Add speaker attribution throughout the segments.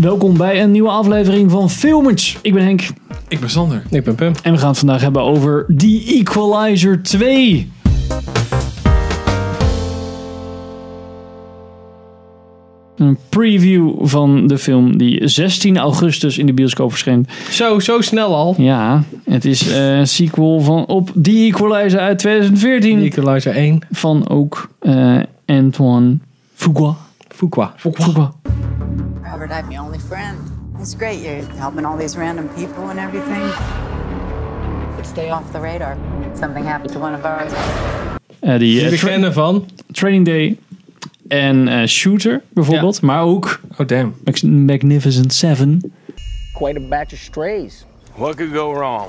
Speaker 1: Welkom bij een nieuwe aflevering van Filmers. Ik ben Henk
Speaker 2: Ik ben Sander.
Speaker 3: Ik ben Pim.
Speaker 1: en we gaan het vandaag hebben over The Equalizer 2. Een preview van de film die 16 augustus in de bioscoop verscheen.
Speaker 3: Zo, zo snel al.
Speaker 1: Ja, het is eh, een sequel van op The Equalizer uit 2014
Speaker 3: Equalizer 1,
Speaker 1: van ook eh, Antoine Fuqua.
Speaker 3: Fuqua.
Speaker 1: Fuqua.
Speaker 4: Robert, I'm your only friend. It's great you're helping all these random people and everything. But stay off the radar. Something happened to one of ours.
Speaker 1: Eh, die, eh,
Speaker 3: Jullie
Speaker 1: tra-
Speaker 3: kennen van...
Speaker 1: Training Day en eh, Shooter bijvoorbeeld. Maar ook
Speaker 3: Oh, damn.
Speaker 1: Mag- Magnificent Seven.
Speaker 5: quite a batch of strays.
Speaker 6: What could go wrong?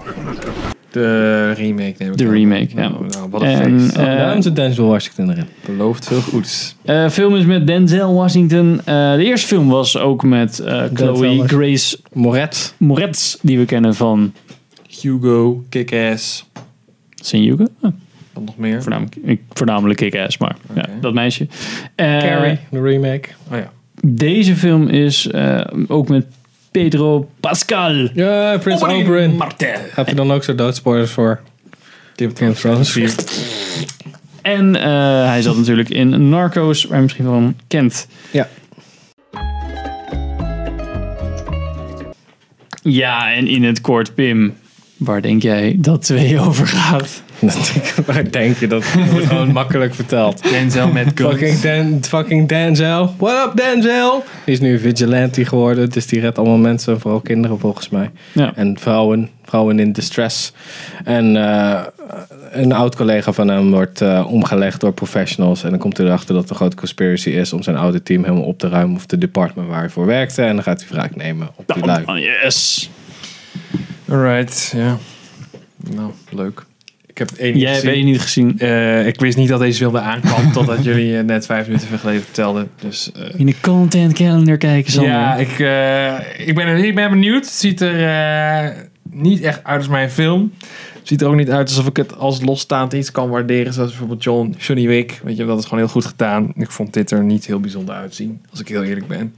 Speaker 3: De remake neem ik
Speaker 1: De
Speaker 3: aan.
Speaker 1: remake, ja.
Speaker 3: Nou, wat een
Speaker 1: En,
Speaker 3: feest.
Speaker 1: eh,
Speaker 3: Oh, daarom zit Denzel Washington erin.
Speaker 2: Belooft veel goeds.
Speaker 1: Eh film is met Denzel Washington. Eh, de eerste film was ook met eh, Chloe
Speaker 3: Washington.
Speaker 1: Grace
Speaker 3: Moret.
Speaker 1: Moretz, die we kennen van
Speaker 2: Hugo, Kick-Ass.
Speaker 1: St. Hugo. Ah,
Speaker 2: Wat nog meer?
Speaker 1: voornamelijk, ik- voornamelijk Kick-Ass, maar ja, dat meisje. Eh,
Speaker 3: Carrie, de remake.
Speaker 2: Oh ja.
Speaker 1: Deze film is eh, ook met Pedro Pascal.
Speaker 3: Ja, Prins Oberyn.
Speaker 2: Martel.
Speaker 3: Heb je dan ook zo doodspoilers voor?
Speaker 2: Game of
Speaker 3: Game of
Speaker 2: Thrones.
Speaker 3: Thrones.
Speaker 1: En eh, hij zat natuurlijk in Narcos, waar je misschien van kent.
Speaker 3: Ja.
Speaker 1: Ja, en in het kort, Pim. Waar denk jij dat twee over gaat?
Speaker 3: Waar denk je dat? wordt gewoon makkelijk verteld.
Speaker 2: Denzel met
Speaker 3: Fucking, Dan, fucking Denzel. What up, Denzel? Die is nu vigilante geworden. Dus die redt allemaal mensen, vooral kinderen volgens mij.
Speaker 1: Ja.
Speaker 3: En vrouwen, vrouwen in distress. En eh, een oud collega van hem wordt eh, omgelegd door professionals. En dan komt hij erachter dat het een grote conspiracy is om zijn oude team helemaal op te ruimen. Of de department waar hij voor werkte. En dan gaat hij wraak nemen op die lui.
Speaker 1: Oh, yes.
Speaker 2: Alright, ja. Nou, leuk. Ik heb
Speaker 1: Jij
Speaker 2: één niet
Speaker 1: hebt
Speaker 2: gezien.
Speaker 1: één niet gezien.
Speaker 2: Eh, ik wist niet dat deze wilde aankwam, totdat jullie eh, net vijf minuten geleden vertelden. Dus eh,
Speaker 1: In de content calendar kijken, Sander.
Speaker 2: Ja, ik, eh, ik, ben, ik ben benieuwd. Het ziet er eh, niet echt uit als mijn film. Het ziet er ook niet uit alsof ik het als losstaand iets kan waarderen. Zoals bijvoorbeeld John, Johnny Wick. Weet je, dat is gewoon heel goed gedaan. Ik vond dit er niet heel bijzonder uitzien, als ik heel eerlijk ben.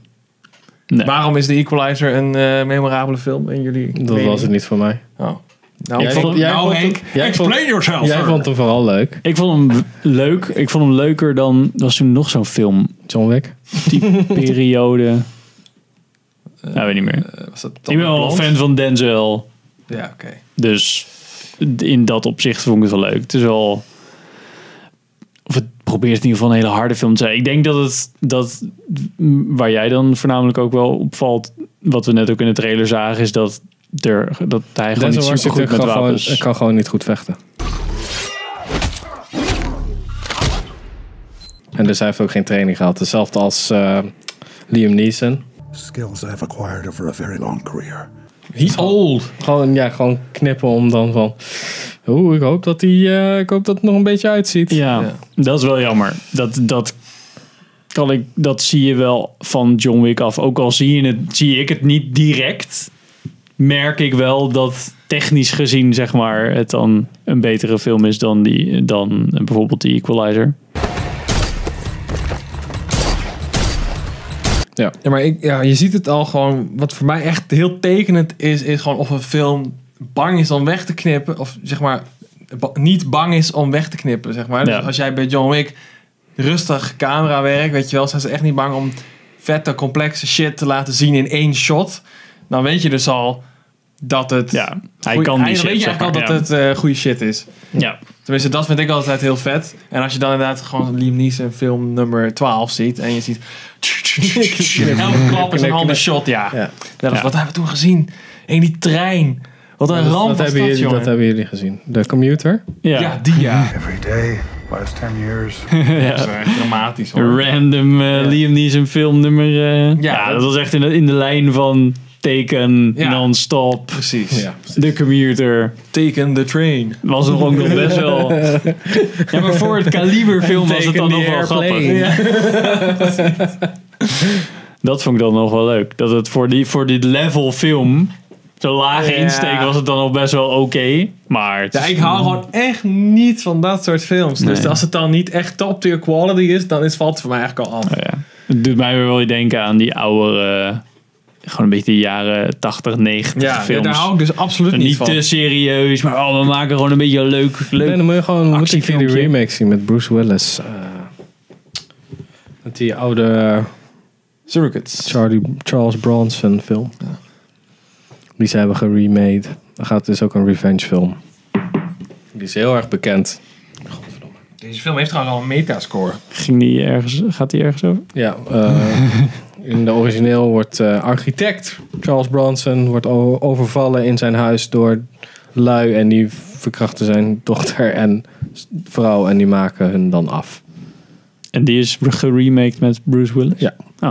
Speaker 1: Nee.
Speaker 2: Waarom is The Equalizer een eh, memorabele film in jullie
Speaker 3: Dat
Speaker 2: mening?
Speaker 3: was het niet voor mij.
Speaker 2: Oh. Nou,
Speaker 3: Jij
Speaker 2: vond-
Speaker 3: vond- jij
Speaker 2: nou,
Speaker 3: vond-
Speaker 2: Henk,
Speaker 3: jij
Speaker 2: explain
Speaker 3: vond-
Speaker 2: yourself.
Speaker 3: Jij
Speaker 2: sir.
Speaker 3: vond hem vooral leuk,
Speaker 1: Ik vond hem leuk. Ik vond hem leuker dan... Was toen nog zo'n film.
Speaker 3: John Wick.
Speaker 1: Die periode. nou, weet niet meer.
Speaker 2: Eh, was dat
Speaker 1: ik ben wel
Speaker 2: Blond?
Speaker 1: een fan van Denzel.
Speaker 2: Ja, oké.
Speaker 1: Dus in dat opzicht vond ik het wel leuk. Het is wel. Of het probeert in ieder geval een hele harde film te zijn. Ik denk dat het. Dat, m, waar jij dan voornamelijk ook wel opvalt. Wat we net ook in de trailer zagen. Is dat, er, dat hij gewoon
Speaker 3: Denzel
Speaker 1: niet super
Speaker 3: Washington
Speaker 1: goed met
Speaker 3: kan gewoon,
Speaker 1: wapens.
Speaker 3: kan gewoon niet goed vechten. En dus hij heeft ook geen training gehad. Hetzelfde als eh, Liam Neeson.
Speaker 7: skills I've acquired over a very long career.
Speaker 3: He's old. Gewoon, ja, gewoon knippen om dan van... Oeh, ik hoop dat hij... eh, ik hoop dat het nog een beetje uitziet.
Speaker 1: Ja, dat is wel jammer. Dat, dat, kan ik, dat zie je wel van John Wick af. Ook al zie, je het, zie ik het niet direct, merk ik wel dat technisch gezien zeg maar, het dan een betere film is dan, die, dan bijvoorbeeld die Equalizer.
Speaker 3: Ja.
Speaker 2: Ja, maar ik, ja, je ziet het al gewoon. Wat voor mij echt heel tekenend is, is gewoon of een film bang is om weg te knippen. Of zeg maar, ba- niet bang is om weg te knippen, zeg maar.
Speaker 1: Ja.
Speaker 2: Dus als jij bij John Wick rustig camerawerk, weet je wel, zijn ze echt niet bang om vette, complexe shit te laten zien in één shot. Dan weet je dus al dat het...
Speaker 1: Ja, hij
Speaker 2: goeie-
Speaker 1: kan die shit,
Speaker 2: weet je
Speaker 1: zeg
Speaker 2: eigenlijk
Speaker 1: maar,
Speaker 2: al dat het eh goede shit is.
Speaker 1: Ja,
Speaker 2: Tenminste, dat vind ik altijd heel vet. En als je dan inderdaad gewoon Liam Neeson film nummer 12 ziet en je ziet... Elke klap is een ander shot, ja.
Speaker 3: Ja.
Speaker 2: Ja, dat-
Speaker 1: Ja.
Speaker 2: Wat hebben we toen gezien? In die trein. Wat een ramp
Speaker 3: dat,
Speaker 2: was
Speaker 3: hebben
Speaker 2: dat,
Speaker 3: jullie,
Speaker 2: jongen.
Speaker 3: dat hebben jullie gezien. De commuter.
Speaker 1: ja.
Speaker 2: ja. die ja.
Speaker 7: Every day, last 10 years.
Speaker 2: Dat is echt dramatisch hoor.
Speaker 1: Random eh, Liam Neeson film nummer... eh, ja, dat
Speaker 2: dat-
Speaker 1: was echt in de, in de lijn van Taken,
Speaker 2: Ja.
Speaker 1: Non-Stop,
Speaker 2: Precies.
Speaker 1: The Commuter...
Speaker 2: Taken the train.
Speaker 1: Was er ook nog best wel. Ja, maar voor het kaliber film was het dan nog wel grappig. Dat vond ik dan nog wel leuk. Dat het voor, die, voor dit level film. Zo'n lage
Speaker 2: Ja.
Speaker 1: insteek was het dan al best wel oké. maar. het
Speaker 2: Ja,
Speaker 1: is-
Speaker 2: ik hou gewoon echt niet van dat soort films. Dus
Speaker 1: Nee.
Speaker 2: als het dan niet echt top tier
Speaker 1: nou
Speaker 2: quality is, dan is, valt het voor mij eigenlijk al af.
Speaker 1: Ja. Het doet mij weer wel denken aan die oude. eh, gewoon een beetje de jaren 80, 90
Speaker 2: Ja,
Speaker 1: films.
Speaker 2: daar hou ik dus absoluut
Speaker 1: En
Speaker 2: niet
Speaker 1: niet
Speaker 2: van.
Speaker 1: te serieus, maar oh, we maken gewoon een beetje een leuk, leuk
Speaker 3: Nee, dan moet je gewoon moet ik die
Speaker 1: actiefilmpje.
Speaker 3: remake zien met Bruce Willis. eh, met die oude eh,
Speaker 2: Surrogates.
Speaker 3: Charlie, Charles Bronson film. Die ze hebben geremade. Dan gaat dus ook een revenge film. Die is heel erg bekend.
Speaker 2: Deze film heeft trouwens al een metascore.
Speaker 1: Ging die ergens, gaat die ergens over?
Speaker 3: Ja, eh, in de origineel wordt eh, architect Charles Bronson wordt o- overvallen in zijn huis door lui en die verkrachten zijn dochter en s- vrouw en die maken hun dan af.
Speaker 1: En die is geremaked met Bruce Willis?
Speaker 3: Ja.
Speaker 1: Oh.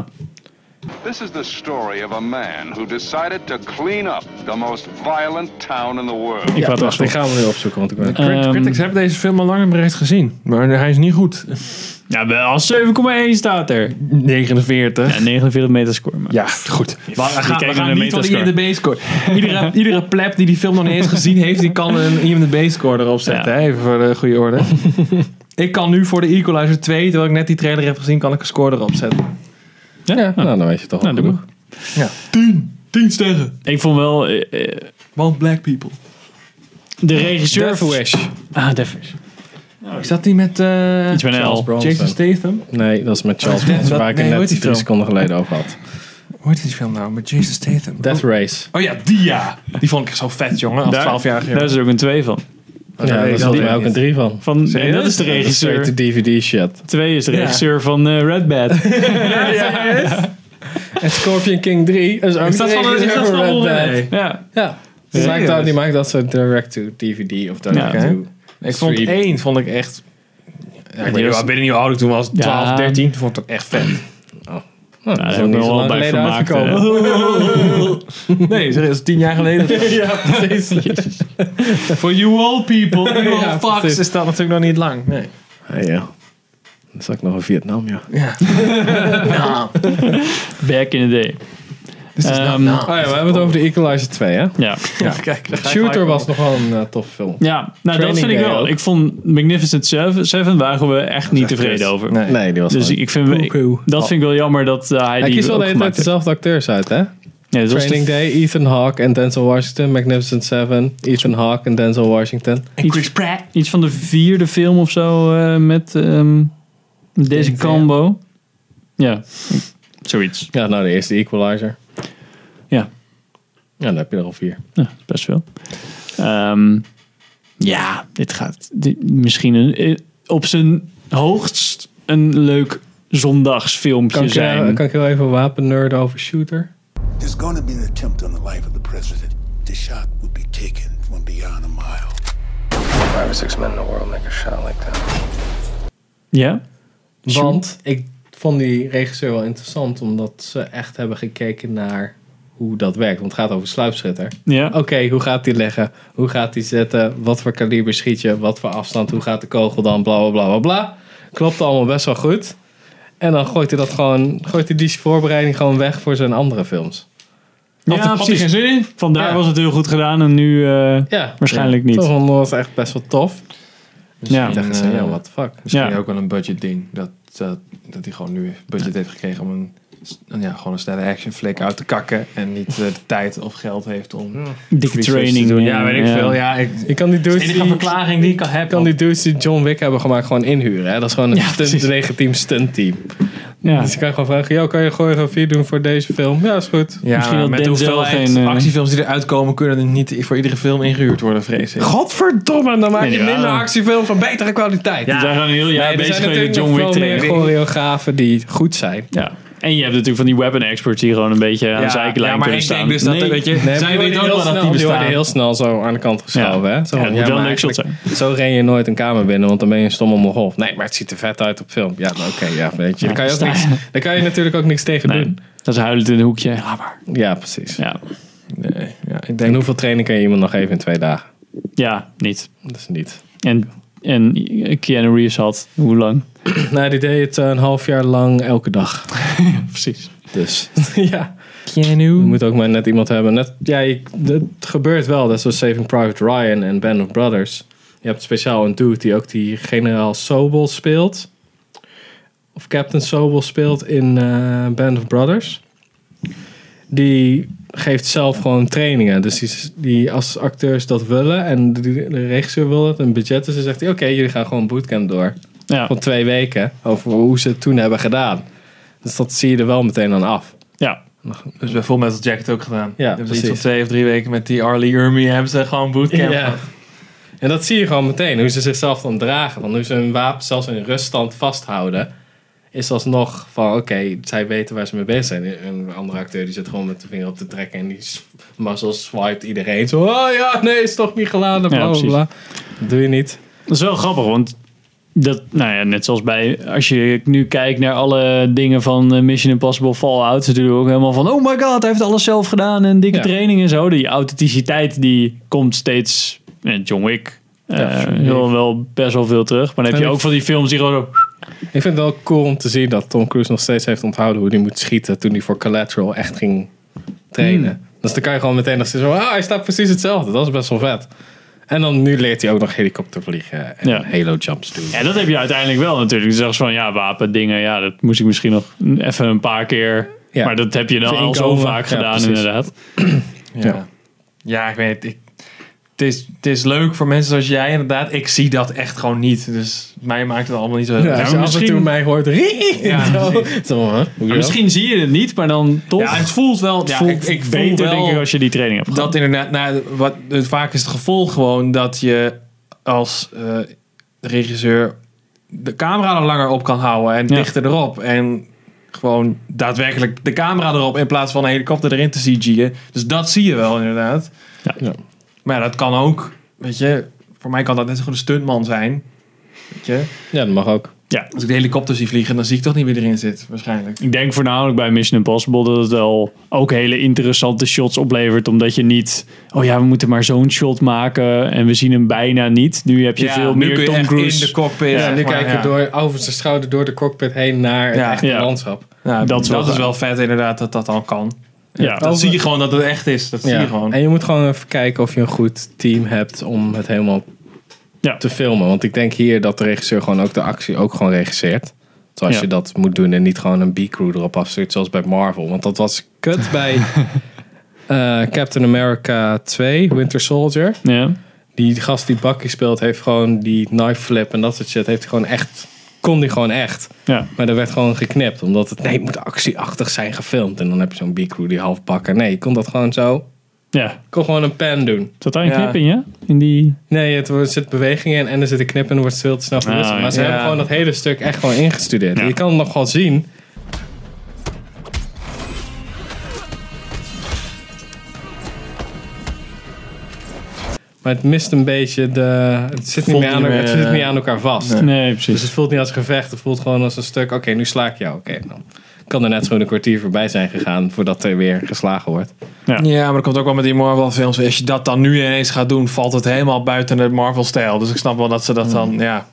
Speaker 6: This is the story of a man who decided to clean up the most violent town in the world.
Speaker 1: Ik wou het
Speaker 3: wacht, ik
Speaker 1: wachten.
Speaker 3: ga hem weer opzoeken, want ik ben...
Speaker 2: Crit-
Speaker 1: Ehm,
Speaker 2: critics hebben deze film al lang en breed gezien. Maar hij is niet goed.
Speaker 1: Ja, wel 7,1 staat er.
Speaker 2: 49.
Speaker 1: Ja, 49 meterscore. Maar.
Speaker 2: Ja, goed. We
Speaker 1: die
Speaker 2: gaan, we
Speaker 1: kijken
Speaker 2: gaan
Speaker 1: naar de
Speaker 2: niet van de
Speaker 1: Metascore.
Speaker 2: IMDb score. Iedere, iedere pleb die die film nog niet eens gezien heeft, die kan een IMDb score erop zetten.
Speaker 1: Ja.
Speaker 2: hè, Even voor de goede orde. ik kan nu voor de Equalizer 2, terwijl ik net die trailer heb gezien, kan ik een score erop zetten.
Speaker 1: Ja?
Speaker 3: Ja, nou, dan weet je toch
Speaker 1: Nou, doe maar.
Speaker 2: Ja. 10. 10 sterren.
Speaker 1: Ik vond wel eh, eh,
Speaker 2: Want black people.
Speaker 1: de regisseur.
Speaker 3: Death Wish.
Speaker 1: Ah, Death Wish.
Speaker 2: Is dat die met, eh,
Speaker 1: Iets met een
Speaker 3: Charles
Speaker 1: L.
Speaker 3: Bronson.
Speaker 2: Jason Statham?
Speaker 3: Nee, dat is met Charles
Speaker 2: Oh, Death-
Speaker 3: Bronson, waar ik
Speaker 2: nee,
Speaker 3: het
Speaker 2: hoe
Speaker 3: net
Speaker 2: heet die
Speaker 3: drie
Speaker 2: film?
Speaker 3: seconden geleden over had.
Speaker 2: Hoe heet die film nou? Met Jason Statham.
Speaker 3: Death Race.
Speaker 2: Oh ja, die ja. Die vond ik echt zo vet, jongen. Als 12-jarige
Speaker 1: Daar
Speaker 2: jongen.
Speaker 1: is er ook een 2 van.
Speaker 3: ja, daar
Speaker 2: weet ik
Speaker 3: zat
Speaker 2: al
Speaker 3: mij ook
Speaker 2: niet.
Speaker 3: een drie van.
Speaker 1: van en dat
Speaker 2: Serieus?
Speaker 1: is de regisseur.
Speaker 3: Straight to DVD shit.
Speaker 1: 2 is de
Speaker 2: Ja.
Speaker 1: regisseur van eh, Red Bad.
Speaker 3: En Scorpion King 3 is ook
Speaker 2: Is dat
Speaker 3: de
Speaker 2: van een- is dat
Speaker 3: regisseur
Speaker 2: van
Speaker 3: Red
Speaker 2: een-
Speaker 3: Band.
Speaker 2: nee.
Speaker 1: ja.
Speaker 3: Ja. Die
Speaker 2: Serieus?
Speaker 3: maakt, dat, die maakt dat soort direct-to-DVD of direct-to...
Speaker 2: Ik vond
Speaker 3: Three.
Speaker 2: één vond ik echt. Ja, ik weet niet, ik weet niet hoe oud ik toen was. 12,
Speaker 1: Ja.
Speaker 2: 13. Toen vond ik dat echt vet.
Speaker 3: Nou,
Speaker 1: daar
Speaker 3: dat is
Speaker 1: heb
Speaker 3: ook
Speaker 1: ik
Speaker 3: niet
Speaker 1: me
Speaker 3: zo
Speaker 1: wel
Speaker 3: lang
Speaker 1: bij
Speaker 3: geleden
Speaker 1: vermaakt, eh.
Speaker 3: uitgekomen.
Speaker 2: Nee, dat is tien jaar geleden. ja, precies. For you all
Speaker 3: Oh,
Speaker 2: people, you all fucks, is dat natuurlijk nog niet lang. Nee.
Speaker 3: Hey, Ah, ja. Dan zat ik nog in Vietnam, ja.
Speaker 1: eh. Back in the day. Ehm,
Speaker 3: Oh ja, we hebben het over de Equalizer 2, hè?
Speaker 1: ja.
Speaker 2: Ja, kijk, daar ga ik
Speaker 3: Shooter
Speaker 2: gelijk
Speaker 3: was nog wel een eh, toffe film.
Speaker 1: ja, nou dat
Speaker 3: Training
Speaker 1: vind ik
Speaker 3: Day
Speaker 1: wel.
Speaker 3: ook.
Speaker 1: Ik vond Magnificent Seven, Seven waren we echt niet tevreden over.
Speaker 2: Nee.
Speaker 3: Nee, die was
Speaker 1: Dus
Speaker 3: gewoon-
Speaker 1: ik vind,
Speaker 2: Poepoe.
Speaker 1: dat vind ik wel jammer dat eh, hij
Speaker 3: Hij
Speaker 1: die
Speaker 3: kiest wel
Speaker 1: ook
Speaker 3: de hele
Speaker 1: gemaakt
Speaker 3: tijd
Speaker 1: heeft.
Speaker 3: dezelfde acteurs uit, hè?
Speaker 1: Ja, dat was de
Speaker 3: Training Day, Ethan Hawke en Denzel Washington. Magnificent Seven, Ethan Hawke en Denzel Washington.
Speaker 2: En Chris Pratt.
Speaker 1: iets van de vierde film of zo eh, met ehm, deze
Speaker 2: Denzel.
Speaker 1: combo. Ja, zoiets.
Speaker 3: Ja, nou, de eerste Equalizer.
Speaker 1: Ja,
Speaker 3: Ja, dan heb je er al vier.
Speaker 1: ja, best wel. Ehm, ja, dit gaat dit- misschien een, eh, op zijn hoogst een leuk zondagsfilmpje
Speaker 3: Kan ik, eh,
Speaker 1: zijn.
Speaker 3: kan ik heel even wapennerden over Shooter?
Speaker 7: There's going to be an attempt on the life of the president. The shot will be taken from beyond a mile.
Speaker 8: Five or six men in the world make a shot like that.
Speaker 1: Ja?
Speaker 3: Want ik vond die regisseur wel interessant, omdat ze echt hebben gekeken naar hoe dat werkt. Want het gaat over sluipschutter.
Speaker 1: Ja.
Speaker 3: Oké, hoe gaat die leggen? Hoe gaat die zetten? Wat voor kaliber schiet je? Wat voor afstand? Hoe gaat de kogel dan? Bla bla bla bla bla. Klopt allemaal best wel goed. En dan gooit hij dat gewoon, gooit hij die voorbereiding gewoon weg voor zijn andere films. Oh,
Speaker 1: Ja, precies.
Speaker 2: zin in?
Speaker 1: Vandaar
Speaker 3: Ja.
Speaker 1: was het heel goed gedaan en nu eh,
Speaker 3: Ja,
Speaker 1: waarschijnlijk niet.
Speaker 3: Toch vond ik dat echt best wel tof.
Speaker 1: ja.
Speaker 3: Ik dacht, zo, ja, what the fuck.
Speaker 2: eh, Misschien
Speaker 1: Ja.
Speaker 2: ook wel een budget ding. Dat, dat, dat hij gewoon nu budget heeft gekregen om een, een, ja, gewoon een snelle action flick uit te kakken. En niet eh, de tijd of geld heeft om...
Speaker 1: Dikke
Speaker 2: research
Speaker 1: training.
Speaker 2: te doen.
Speaker 1: eh,
Speaker 2: Ja, weet ik veel. Ja, ik,
Speaker 3: Je kan die
Speaker 2: de
Speaker 3: dudes
Speaker 2: enige
Speaker 3: die,
Speaker 2: verklaring die ik kan hebben.
Speaker 3: kan die dudes die John Wick hebben gemaakt gewoon inhuren. Hè? Dat is gewoon een stunt, een eigen team stunt team.
Speaker 1: Ja.
Speaker 3: Dus je kan gewoon vragen, joh, kan je choreografie doen voor deze film? Ja, is goed.
Speaker 2: Ja,
Speaker 1: Misschien
Speaker 2: maar
Speaker 1: dat
Speaker 2: met de
Speaker 1: Denzel
Speaker 2: hoeveelheid
Speaker 1: geen, eh,
Speaker 2: actiefilms die eruit komen, kunnen er niet voor iedere film ingehuurd worden, vrees ik.
Speaker 3: Godverdomme, dan maak
Speaker 1: Nee,
Speaker 3: je
Speaker 1: ja.
Speaker 3: minder actiefilm van betere kwaliteit.
Speaker 1: We zijn gewoon een heel jaar
Speaker 3: Nee, er
Speaker 1: bezig
Speaker 3: zijn
Speaker 1: geweest met
Speaker 3: natuurlijk
Speaker 1: John
Speaker 3: nog
Speaker 1: Wick
Speaker 3: veel meer
Speaker 1: training.
Speaker 3: choreografen die goed zijn.
Speaker 1: Ja. En je hebt natuurlijk van die weapon experts die gewoon een beetje aan de zijkant
Speaker 2: ja, maar
Speaker 1: kunnen
Speaker 2: ik
Speaker 1: staan.
Speaker 2: denk dus dat,
Speaker 1: Nee.
Speaker 2: weet je, zij
Speaker 3: worden
Speaker 2: weten ook
Speaker 3: heel
Speaker 2: wel dat
Speaker 3: snel-
Speaker 2: die
Speaker 3: worden
Speaker 2: bestaan.
Speaker 3: heel snel zo aan de kant geschoven.
Speaker 1: Ja.
Speaker 3: Hè? Zo,
Speaker 1: Ja,
Speaker 3: van,
Speaker 1: het moet wel een
Speaker 3: maar
Speaker 1: leuk shot
Speaker 3: eigenlijk- Zo ren je nooit een kamer binnen, want dan ben je een stomme mogol. Nee, maar het ziet er vet uit op film. Ja, nou, oké, ja, weet je. Daar kan je, ook
Speaker 1: sta-
Speaker 3: niks, daar kan je natuurlijk ook niks tegen
Speaker 1: Nee,
Speaker 3: doen.
Speaker 1: dat is huilend in een hoekje. Laat maar.
Speaker 3: Ja, precies.
Speaker 1: Ja,
Speaker 2: Nee, ja, ik
Speaker 3: En
Speaker 2: denk,
Speaker 3: hoeveel training kan je iemand nog geven in twee dagen?
Speaker 1: ja niet.
Speaker 3: Dat is niet.
Speaker 1: En, en Keanu Reeves had hoe lang?
Speaker 3: Nou, die deed het eh, een half jaar lang elke dag.
Speaker 1: Precies.
Speaker 3: Dus ja. Je moet ook maar net iemand hebben. Net, ja, je- het gebeurt wel. Dat is zoals Saving Private Ryan en Band of Brothers. Je hebt speciaal een dude die ook die generaal Sobel speelt. Of Captain Sobel speelt in eh, Band of Brothers. die geeft zelf gewoon trainingen. Dus die, die als acteurs dat willen en de, de regisseur wil het en budget is, dan zegt hij: Oké, jullie gaan gewoon bootcamp door.
Speaker 1: Ja.
Speaker 3: Van twee weken over hoe ze het toen hebben gedaan. Dus dat zie je er wel meteen aan af.
Speaker 1: ja.
Speaker 2: Dus bij Full Metal Jacket ook gedaan.
Speaker 3: Ja,
Speaker 2: hebben ze iets van
Speaker 3: precies.
Speaker 2: twee of drie weken met die Arlie Ermy hebben ze gewoon bootcamp
Speaker 3: Ja.
Speaker 2: gehad.
Speaker 3: En dat zie je gewoon meteen, hoe ze zichzelf dan dragen. Want hoe ze hun wapen zelfs in ruststand vasthouden, is alsnog van oké, zij weten waar ze mee bezig zijn. Een andere acteur die zit gewoon met de vinger op de trek en die s- mazzel swipe iedereen. Zo, oh ja, nee, is toch niet geladen, bla bla
Speaker 1: precies.
Speaker 3: bla. Dat doe je niet.
Speaker 1: Dat is wel grappig, want dat, nou ja, net zoals bij, als je nu kijkt naar alle dingen van eh, Mission Impossible Fallout, is natuurlijk ook helemaal van, oh my god, hij heeft alles zelf gedaan en dikke
Speaker 3: Ja.
Speaker 1: training en zo. Die authenticiteit die komt steeds, en John Wick, eh,
Speaker 3: John Wick.
Speaker 1: heel wel best wel veel terug. Maar dan heb
Speaker 3: En
Speaker 1: je
Speaker 3: ik-
Speaker 1: ook van die films die gewoon zo,
Speaker 3: Ik vind het wel cool om te zien dat Tom Cruise nog steeds heeft onthouden hoe hij moet schieten toen hij voor Collateral echt ging trainen. Dus dan kan je gewoon meteen nog steeds zo, ah, hij staat precies hetzelfde. Dat is best wel vet. En dan nu leert hij ook nog helikopter vliegen en
Speaker 1: Ja.
Speaker 3: halo jumps doen.
Speaker 1: ja, dat heb je uiteindelijk wel natuurlijk. Dus van, ja, wapen, dingen, ja, dat moest ik misschien nog even een paar keer,
Speaker 3: Ja.
Speaker 1: maar dat heb je dan al zo
Speaker 3: Inkomen.
Speaker 1: vaak
Speaker 3: Ja,
Speaker 1: gedaan
Speaker 3: precies.
Speaker 1: inderdaad.
Speaker 2: Ja. ja, ik weet het. Ik, het, is, het is leuk voor mensen zoals jij inderdaad. Ik zie dat echt gewoon niet. Dus mij maakt het allemaal niet zo heel
Speaker 3: Ja,
Speaker 2: uit.
Speaker 3: als
Speaker 1: maar
Speaker 3: je af en
Speaker 1: misschien-
Speaker 3: toe mij hoort.
Speaker 2: Ja, dus-
Speaker 3: zo.
Speaker 2: precies.
Speaker 3: Zo, hè? Hoe dan?
Speaker 1: Maar misschien zie je het niet, maar dan toch.
Speaker 2: Ja, het voelt wel. Ja,
Speaker 1: voelt
Speaker 2: ik, ik voel
Speaker 1: beter,
Speaker 2: wel
Speaker 1: denk ik, als je die training hebt
Speaker 2: dat inderdaad. Nou, wat, het, vaak is het gevolg gewoon dat je als eh, regisseur de camera er langer op kan houden en
Speaker 1: Ja.
Speaker 2: dichter erop. En gewoon daadwerkelijk de camera erop in plaats van een helikopter erin te CG'en. Dus dat zie je wel inderdaad.
Speaker 1: Ja.
Speaker 3: Ja.
Speaker 2: Maar ja, dat kan ook. Weet je, voor mij kan dat net zo goed een stuntman zijn. Weet je,
Speaker 3: Ja, dat mag ook.
Speaker 2: als ik de helikopter zie vliegen, dan zie ik toch niet wie erin zit, waarschijnlijk.
Speaker 1: Ik denk voornamelijk bij Mission Impossible dat het wel ook hele interessante shots oplevert. Omdat je niet, oh ja, we moeten maar zo'n shot maken en we zien hem bijna niet. Nu heb je
Speaker 2: Ja,
Speaker 1: veel
Speaker 2: nu kun
Speaker 1: meer
Speaker 2: je
Speaker 1: Tom
Speaker 2: echt
Speaker 1: Cruise.
Speaker 2: in de cockpit.
Speaker 1: Ja,
Speaker 2: zeg
Speaker 3: nu
Speaker 2: maar,
Speaker 3: kijk je
Speaker 2: ja.
Speaker 3: door, over zijn schouder door de cockpit heen naar het
Speaker 2: Ja.
Speaker 3: echte
Speaker 1: Ja.
Speaker 3: landschap.
Speaker 2: Ja,
Speaker 1: Dat
Speaker 2: dat
Speaker 1: is
Speaker 2: is,
Speaker 1: wel
Speaker 2: Nou, dat
Speaker 1: gaaf.
Speaker 2: is wel vet inderdaad dat dat al kan.
Speaker 1: ja,
Speaker 2: Dat zie je gewoon dat het echt is. Dat zie je gewoon.
Speaker 3: En je moet gewoon even kijken of je een goed team hebt om het helemaal
Speaker 1: Ja.
Speaker 2: Oh.
Speaker 3: te filmen. Want ik denk hier dat de regisseur gewoon ook de actie ook gewoon regisseert. Zoals
Speaker 1: Ja.
Speaker 3: je dat moet doen en niet gewoon een B-crew erop afstuurt zoals bij Marvel. Want dat was kut bij eh, Captain America 2, Winter Soldier.
Speaker 1: ja.
Speaker 3: Die gast die Bucky speelt, heeft gewoon die knife flip en dat soort shit. Heeft hij gewoon echt, kon die gewoon echt.
Speaker 1: Ja.
Speaker 3: Maar er werd gewoon geknipt. Omdat het, nee, het moet actieachtig zijn gefilmd. En dan heb je zo'n B-crew die half bakken. Nee, je kon dat gewoon zo.
Speaker 1: ja,
Speaker 3: Ik kon gewoon een pen doen.
Speaker 1: zat daar een
Speaker 2: Ja.
Speaker 1: knip in, ja? In die...
Speaker 3: Nee, het, wordt- er zit beweging in en er zit een knip en dan wordt het veel te snel gewisseld.
Speaker 1: Ah,
Speaker 3: maar ze
Speaker 2: ja.
Speaker 3: hebben gewoon dat hele stuk echt gewoon ingestudeerd.
Speaker 1: Ja.
Speaker 3: Je kan het nog wel zien. Maar het mist een beetje de... Het zit, niet
Speaker 2: Voelt
Speaker 3: meer aan,
Speaker 2: niet meer,
Speaker 3: het zit
Speaker 2: eh,
Speaker 3: niet aan elkaar vast.
Speaker 1: Nee,
Speaker 3: Dus
Speaker 1: precies.
Speaker 3: het voelt niet als gevecht. Het voelt gewoon als een stuk. Oké, nu sla ik jou. Oké, dan kan er net zo'n kwartier voorbij zijn gegaan voordat er weer geslagen wordt.
Speaker 2: Ja, maar dat komt ook wel met die Marvel-films. Als je dat dan nu ineens gaat doen, valt het helemaal buiten de Marvel-stijl. Dus ik snap wel dat ze dat dan, ja.
Speaker 3: Nou,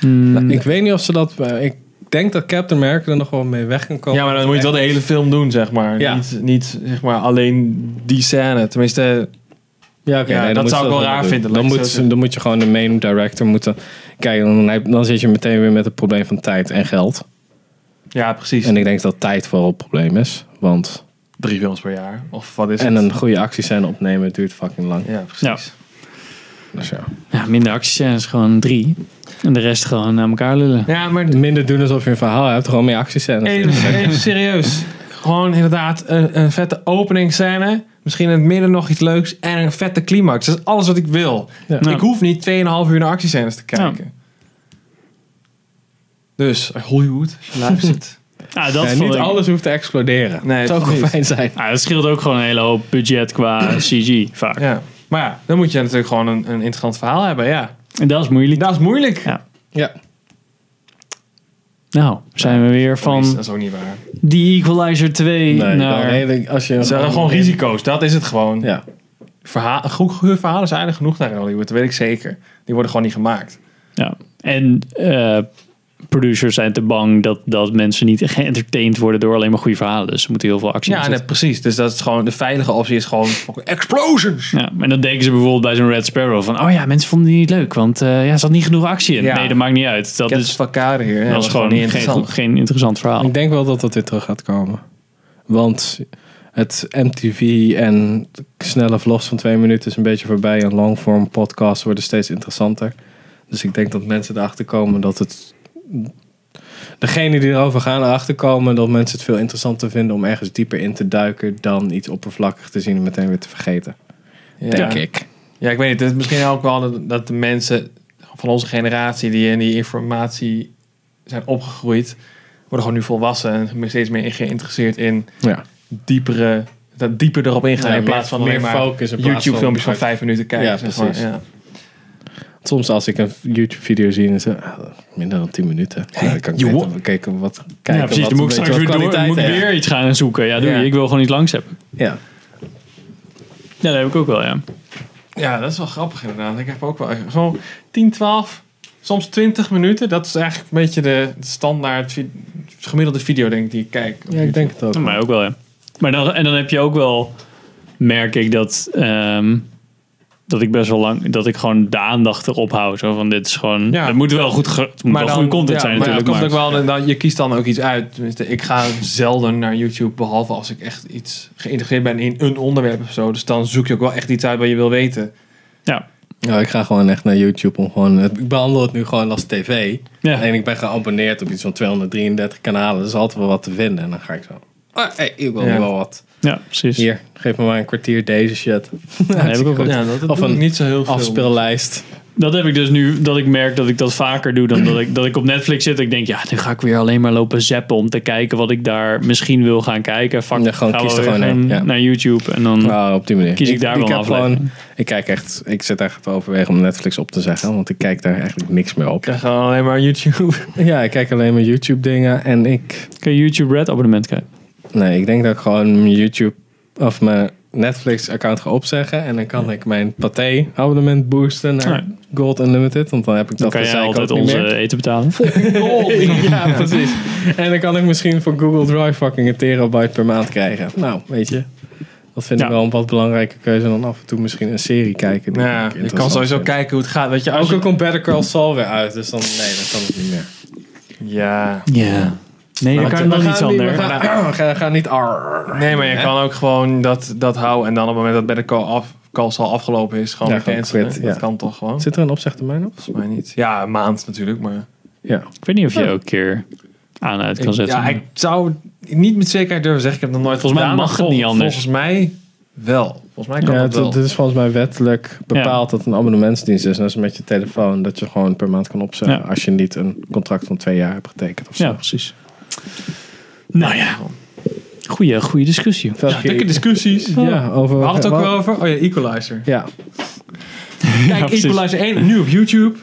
Speaker 2: Mm.
Speaker 3: Ik weet niet of ze dat. eh, Ik denk dat Captain America er nog wel mee weg kan komen.
Speaker 2: Ja, maar dan moet je wel de hele film doen, zeg maar.
Speaker 3: Ja.
Speaker 2: Niet, niet zeg maar, alleen die scène. Tenminste,
Speaker 3: Ja, oké,
Speaker 2: Ja,
Speaker 3: dan
Speaker 2: dat
Speaker 3: moet
Speaker 2: zou
Speaker 3: je
Speaker 2: ik wel
Speaker 3: gewoon
Speaker 2: raar
Speaker 3: doen.
Speaker 2: vinden,
Speaker 3: Dan
Speaker 2: laat ik
Speaker 3: moet,
Speaker 2: zo
Speaker 3: ze- dan moet je gewoon de main director moeten. Kijk, dan, heb- dan zit je meteen weer met het probleem van tijd en geld.
Speaker 2: ja, precies.
Speaker 3: En ik denk dat tijd vooral het probleem is. Want.
Speaker 2: drie films per jaar. Of wat is
Speaker 3: En
Speaker 2: het?
Speaker 3: een goede actiescène opnemen duurt fucking lang.
Speaker 2: Ja, precies.
Speaker 3: Dus ja.
Speaker 1: Ja, minder actiescènes, gewoon drie. En de rest gewoon naar elkaar lullen.
Speaker 2: Ja, maar
Speaker 3: Minder doen alsof je een verhaal hebt, gewoon meer actiescènes.
Speaker 2: even, even serieus. Gewoon inderdaad een, een vette openingsscène. Misschien in het midden nog iets leuks. En een vette climax. Dat is alles wat ik wil.
Speaker 3: Ja.
Speaker 2: Ik hoef niet 2,5 uur naar actiescènes te kijken. Dus, Hollywood, als je luistert.
Speaker 1: Ah, dat
Speaker 3: Ja,
Speaker 1: vond
Speaker 3: niet
Speaker 1: ik-
Speaker 3: alles hoeft te exploderen.
Speaker 2: Nee,
Speaker 3: het zou ook
Speaker 2: precies.
Speaker 3: fijn zijn.
Speaker 1: Ah, dat scheelt ook gewoon een hele hoop budget qua CG vaak.
Speaker 2: ja. Maar ja, dan moet je natuurlijk gewoon een, een interessant verhaal hebben. Ja.
Speaker 1: En dat is moeilijk.
Speaker 2: Dat is moeilijk.
Speaker 1: Ja.
Speaker 3: Ja.
Speaker 1: Nou, zijn we weer
Speaker 2: Van, dat
Speaker 1: van
Speaker 2: is ook niet waar.
Speaker 1: die Equalizer 2
Speaker 3: Nee,
Speaker 1: naar...
Speaker 3: dan hele- als je
Speaker 2: Er zijn Nou. gewoon risico's. Dat is het gewoon.
Speaker 3: Ja.
Speaker 2: Verhaal, goe- goede verhalen zijn er genoeg naar in Hollywood. Dat weet ik zeker. Die worden gewoon niet gemaakt.
Speaker 1: Ja. En eh, producers zijn te bang dat, dat mensen niet geëntertained worden door alleen maar goede verhalen. Dus ze moeten heel veel actie
Speaker 2: Ja,
Speaker 1: in
Speaker 2: net
Speaker 1: zetten.
Speaker 2: precies. Dus dat is gewoon de veilige optie is gewoon fucking explosions.
Speaker 1: Ja, en dan denken ze bijvoorbeeld bij zo'n Red Sparrow van... Oh ja, mensen vonden die niet leuk, want eh, ja, er zat niet genoeg actie in.
Speaker 2: Ja.
Speaker 1: Nee, dat maakt niet uit. Dat
Speaker 2: Dat
Speaker 1: is,
Speaker 2: is van elkaar hier. Ja,
Speaker 1: dat is gewoon
Speaker 2: niet
Speaker 1: geen,
Speaker 2: interessant.
Speaker 1: geen interessant verhaal.
Speaker 3: Ik denk wel dat dat weer terug gaat komen. Want het MTV en snelle vlogs van twee minuten is een beetje voorbij. En longform podcasts worden steeds interessanter. Dus ik denk dat mensen erachter komen dat het... Degene die erover gaan erachter komen dat mensen het veel interessanter vinden om ergens dieper in te duiken dan iets oppervlakkig te zien en meteen weer te vergeten.
Speaker 2: Ja.
Speaker 3: Denk ik.
Speaker 2: Ja, ik weet niet. Het is misschien ook wel dat, dat de mensen van onze generatie die in die informatie zijn opgegroeid, worden gewoon nu volwassen en zijn steeds meer geïnteresseerd in
Speaker 3: Ja.
Speaker 2: diepere, dat dieper erop ingaan
Speaker 3: Ja,
Speaker 2: in
Speaker 3: meer-
Speaker 2: plaats van alleen
Speaker 3: meer
Speaker 2: maar
Speaker 3: focus in plaats
Speaker 2: YouTube filmpjes van
Speaker 3: van-
Speaker 2: vijf minuten kijken.
Speaker 3: Ja,
Speaker 2: zeg maar.
Speaker 3: precies.
Speaker 2: Ja.
Speaker 3: Soms als ik een YouTube-video zie, en zo, ah, minder dan 10 minuten. Nou, dan kan ik
Speaker 2: joh.
Speaker 3: beter wel kijken wat kijken.
Speaker 1: ja, precies.
Speaker 3: wat
Speaker 1: Dan moet
Speaker 3: een
Speaker 1: ik straks
Speaker 3: beetje
Speaker 1: weer
Speaker 3: wat
Speaker 1: door. Dan moet ik
Speaker 3: kwaliteit
Speaker 1: weer iets gaan zoeken. Ja, doe
Speaker 2: Ja.
Speaker 1: je. Ik wil gewoon iets langs hebben.
Speaker 3: heeft. Ja.
Speaker 1: Ja, dat heb ik ook wel, ja.
Speaker 2: ja, dat is wel grappig inderdaad. Ik heb ook wel zo'n 10, 12, soms 20 minuten. Dat is eigenlijk een beetje de, de standaard vi- gemiddelde video denk ik die ik kijk.
Speaker 3: ja, ik denk het ook.
Speaker 1: Ja, Maar ook wel, ja. Maar dan, en dan heb je ook wel, merk ik dat, ehm, dat ik best wel lang, dat ik gewoon de aandacht erop hou. Zo van, dit is gewoon,
Speaker 2: Ja.
Speaker 1: het moet wel goed, ge- het moet Hm, wel goede content
Speaker 2: ja,
Speaker 1: zijn
Speaker 2: maar
Speaker 1: natuurlijk.
Speaker 2: het
Speaker 1: Maar,
Speaker 2: komt ook wel, dan, je kiest dan ook iets uit. Tenminste, ik ga zelden naar YouTube, behalve als ik echt iets geïnteresseerd ben in een onderwerp of zo. Dus dan zoek je ook wel echt iets uit wat je wil weten.
Speaker 1: ja.
Speaker 3: Ja, ik ga gewoon echt naar YouTube om gewoon... het- Ik behandel het nu gewoon als tv.
Speaker 1: Ja.
Speaker 3: Alleen ik ben geabonneerd op iets van 233 kanalen. Dus altijd wel wat te vinden. En dan ga ik zo... Ah, hey, ik wil
Speaker 2: Ja.
Speaker 3: nu wel wat.
Speaker 1: ja, precies.
Speaker 3: Hier, geef me maar een kwartier deze shit.
Speaker 1: Ja, dat heb ik ook wel.
Speaker 2: Ja, dat,
Speaker 3: Of
Speaker 2: of
Speaker 3: een
Speaker 2: niet zo heel veel.
Speaker 3: Afspeellijst.
Speaker 1: Dat heb ik dus nu, dat ik merk dat ik dat vaker doe dan dat ik, dat ik op Netflix zit. Ik denk, ja, nu ga ik weer alleen maar lopen zappen om te kijken wat ik daar misschien wil gaan kijken. Fuck,
Speaker 3: Ja, gewoon
Speaker 1: ga
Speaker 3: kies er
Speaker 1: wel
Speaker 3: gewoon
Speaker 1: weer
Speaker 3: een, ja.
Speaker 1: naar YouTube en dan...
Speaker 3: Nou, op die manier.
Speaker 1: Kies ik daar wel
Speaker 3: heb
Speaker 1: een
Speaker 3: gewoon-
Speaker 1: aflevering.
Speaker 3: Ik kijk echt... Ik zit echt te overwegen om Netflix op te zeggen. Want ik kijk daar eigenlijk niks meer op.
Speaker 2: Ik krijg gewoon alleen maar YouTube.
Speaker 3: Ja, ik kijk alleen maar YouTube dingen. En ik...
Speaker 1: Kan je YouTube Red abonnement krijgen?
Speaker 3: Nee, ik denk dat ik gewoon mijn YouTube of mijn Netflix account ga opzeggen. En dan kan ik mijn Pathé abonnement boosten naar
Speaker 1: Ja.
Speaker 3: Gold Unlimited. Want dan heb ik
Speaker 1: Dan
Speaker 3: dat
Speaker 1: kan jij
Speaker 3: gezeik
Speaker 1: altijd
Speaker 3: ook niet
Speaker 1: onze
Speaker 3: meer.
Speaker 1: eten betalen.
Speaker 3: ja, precies. En dan kan ik misschien voor Google Drive fucking een terabyte per maand krijgen. Nou, weet je. Dat vind ik
Speaker 1: Ja.
Speaker 3: wel een wat belangrijke keuze dan af en toe misschien een serie kijken. die ik
Speaker 2: Ja, je kan
Speaker 3: interessant
Speaker 2: sowieso
Speaker 3: vind.
Speaker 2: kijken hoe het gaat. Weet je, als
Speaker 3: Ook al
Speaker 2: je,
Speaker 3: komt Better Call Saul weer uit, dus dan nee, dan kan het niet meer.
Speaker 2: ja.
Speaker 1: Ja. Nee, dat kan nog iets anders.
Speaker 3: We gaan, we gaan, we gaan niet arr.
Speaker 2: Nee, maar je kan ook gewoon dat, dat houden. En dan op het moment dat bij de call, af, calls al afgelopen is, gewoon
Speaker 3: Ja,
Speaker 2: weer
Speaker 3: gewoon
Speaker 2: cancelen.
Speaker 3: quit,
Speaker 2: Dat
Speaker 3: ja.
Speaker 2: kan toch gewoon?
Speaker 3: Zit er een opzegtermijn op?
Speaker 2: Volgens mij niet. Ja, een maand natuurlijk, maar...
Speaker 3: Ja.
Speaker 1: Ik weet niet of je ook een keer aan en uit kan
Speaker 2: Ik-
Speaker 1: zetten.
Speaker 2: Ja, ik zou niet met zekerheid durven zeggen. Ik heb het nog nooit
Speaker 1: Volgens mij
Speaker 2: gedaan,
Speaker 1: mag het
Speaker 2: maar vol-
Speaker 1: niet anders.
Speaker 2: Volgens mij wel. Volgens mij kan
Speaker 3: Ja,
Speaker 2: dat
Speaker 3: het,
Speaker 2: wel.
Speaker 3: het is volgens mij wettelijk bepaald dat een abonnementsdienst is. Net als met je telefoon, dat je gewoon per maand kan opzeggen.
Speaker 1: Ja.
Speaker 3: Als je niet een contract van twee jaar hebt getekend of zo.
Speaker 1: ja, precies. Nou ja. Goeie, goeie discussie.
Speaker 3: Welke-
Speaker 2: Dikke discussies.
Speaker 3: ja, over,
Speaker 2: dus- We hadden het ook
Speaker 3: wel-
Speaker 2: wel over. Oh ja, Equalizer.
Speaker 3: Ja.
Speaker 1: Ja,
Speaker 2: Kijk,
Speaker 1: precies.
Speaker 2: Equalizer 1 nu op YouTube.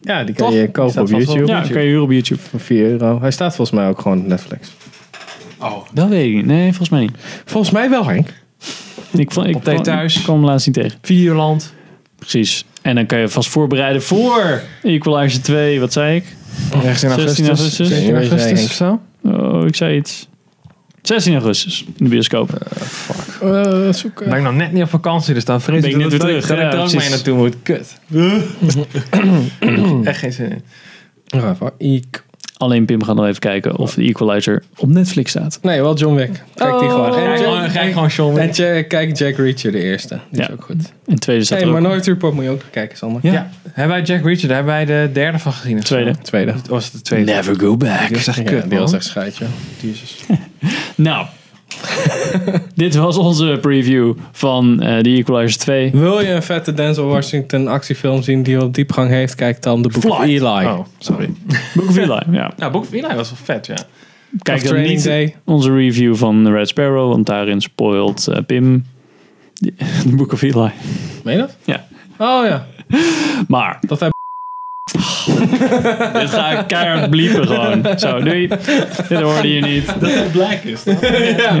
Speaker 3: ja, die kan
Speaker 2: Toch?
Speaker 3: je
Speaker 2: Is
Speaker 3: kopen
Speaker 2: dat
Speaker 3: op
Speaker 2: vast wel-
Speaker 3: YouTube.
Speaker 1: Ja, kan je huren op YouTube.
Speaker 3: Voor 4 euro. Hij staat volgens mij ook gewoon op Netflix.
Speaker 1: Dat weet ik niet. Nee, volgens mij niet.
Speaker 3: Volgens mij wel, Henk.
Speaker 1: Ik, vond, ik,
Speaker 2: Op tijd
Speaker 1: kwam-
Speaker 2: thuis.
Speaker 1: ik kwam hem laatst niet tegen.
Speaker 2: Videoland.
Speaker 1: Precies. En dan kan je vast voorbereiden voor Equalizer 2. Wat zei ik?
Speaker 2: Rechts in
Speaker 1: 16 augustus.
Speaker 3: nou- Ik weet niet wat je zei, Henk.
Speaker 2: zo.
Speaker 1: Oh, ik zei iets. 16 augustus in de bioscoop.
Speaker 3: Eh, zoeken.
Speaker 2: Ben ik nog net niet op vakantie, dus dan vrees
Speaker 1: Ben
Speaker 2: ik
Speaker 1: je
Speaker 2: dat,
Speaker 1: net
Speaker 2: dat,
Speaker 1: weer
Speaker 2: ik-
Speaker 1: terug,
Speaker 2: dat ik
Speaker 1: ja,
Speaker 2: er ook mee
Speaker 1: precies.
Speaker 2: naartoe moet. Kut. Echt geen zin in.
Speaker 3: Nog even. Ik.
Speaker 1: Alleen Pim gaat nog even kijken of de Equalizer op Netflix staat.
Speaker 3: Nee, wel John Wick. Kijk die gewoon.
Speaker 2: Ga
Speaker 3: En,
Speaker 2: ik gewoon-
Speaker 3: Jack,
Speaker 2: ga ik gewoon John
Speaker 3: en Jack- kijk Jack Reacher, de eerste. Die
Speaker 1: Ja.
Speaker 3: is ook goed.
Speaker 1: En tweede staat
Speaker 3: Hey,
Speaker 1: er ook.
Speaker 3: Minority Report moet je ook kijken, Sander.
Speaker 2: Ja. Hebben wij Jack Reacher, daar hebben wij de derde van gezien. of zo?
Speaker 1: Tweede.
Speaker 3: Tweede.
Speaker 2: Of was het de tweede?
Speaker 1: Never go
Speaker 2: Die
Speaker 1: back.
Speaker 2: was echt
Speaker 3: Ja,
Speaker 2: kut,
Speaker 3: die was
Speaker 2: man.
Speaker 3: echt scheidje. Jezus.
Speaker 1: Nou, dit was onze preview van eh The Equalizer 2.
Speaker 3: Wil je een vette Denzel Washington actiefilm zien die wat diepgang heeft? Kijk dan de boek
Speaker 1: Fly.
Speaker 3: Eli.
Speaker 2: Oh, sorry.
Speaker 1: Book of Eli, ja.
Speaker 2: Nou, Book of Eli was wel vet, ja.
Speaker 1: Kijk
Speaker 3: Of
Speaker 1: dan
Speaker 3: Training
Speaker 1: niet
Speaker 3: Day.
Speaker 1: onze review van Red Sparrow, want daarin spoilt eh, Pim de Book of Eli.
Speaker 3: Meen je dat?
Speaker 1: Ja.
Speaker 3: Oh ja.
Speaker 1: Maar,
Speaker 3: Dat hij
Speaker 1: dit ga ik keihard bliepen gewoon. Zo, doei. Dit hoorde je niet.
Speaker 2: black is.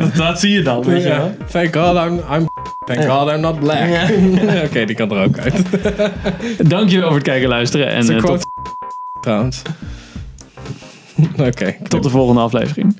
Speaker 2: Dat. dat, zie je dan. Weet
Speaker 3: Ja. Thank God I'm, I'm Thank God I'm not black. Oké, die kan er ook uit. Het
Speaker 1: Dankjewel voor het kijken en luisteren. En
Speaker 3: is een
Speaker 1: eh, tot,
Speaker 3: quote trouwens. Oké.
Speaker 1: tot de volgende aflevering.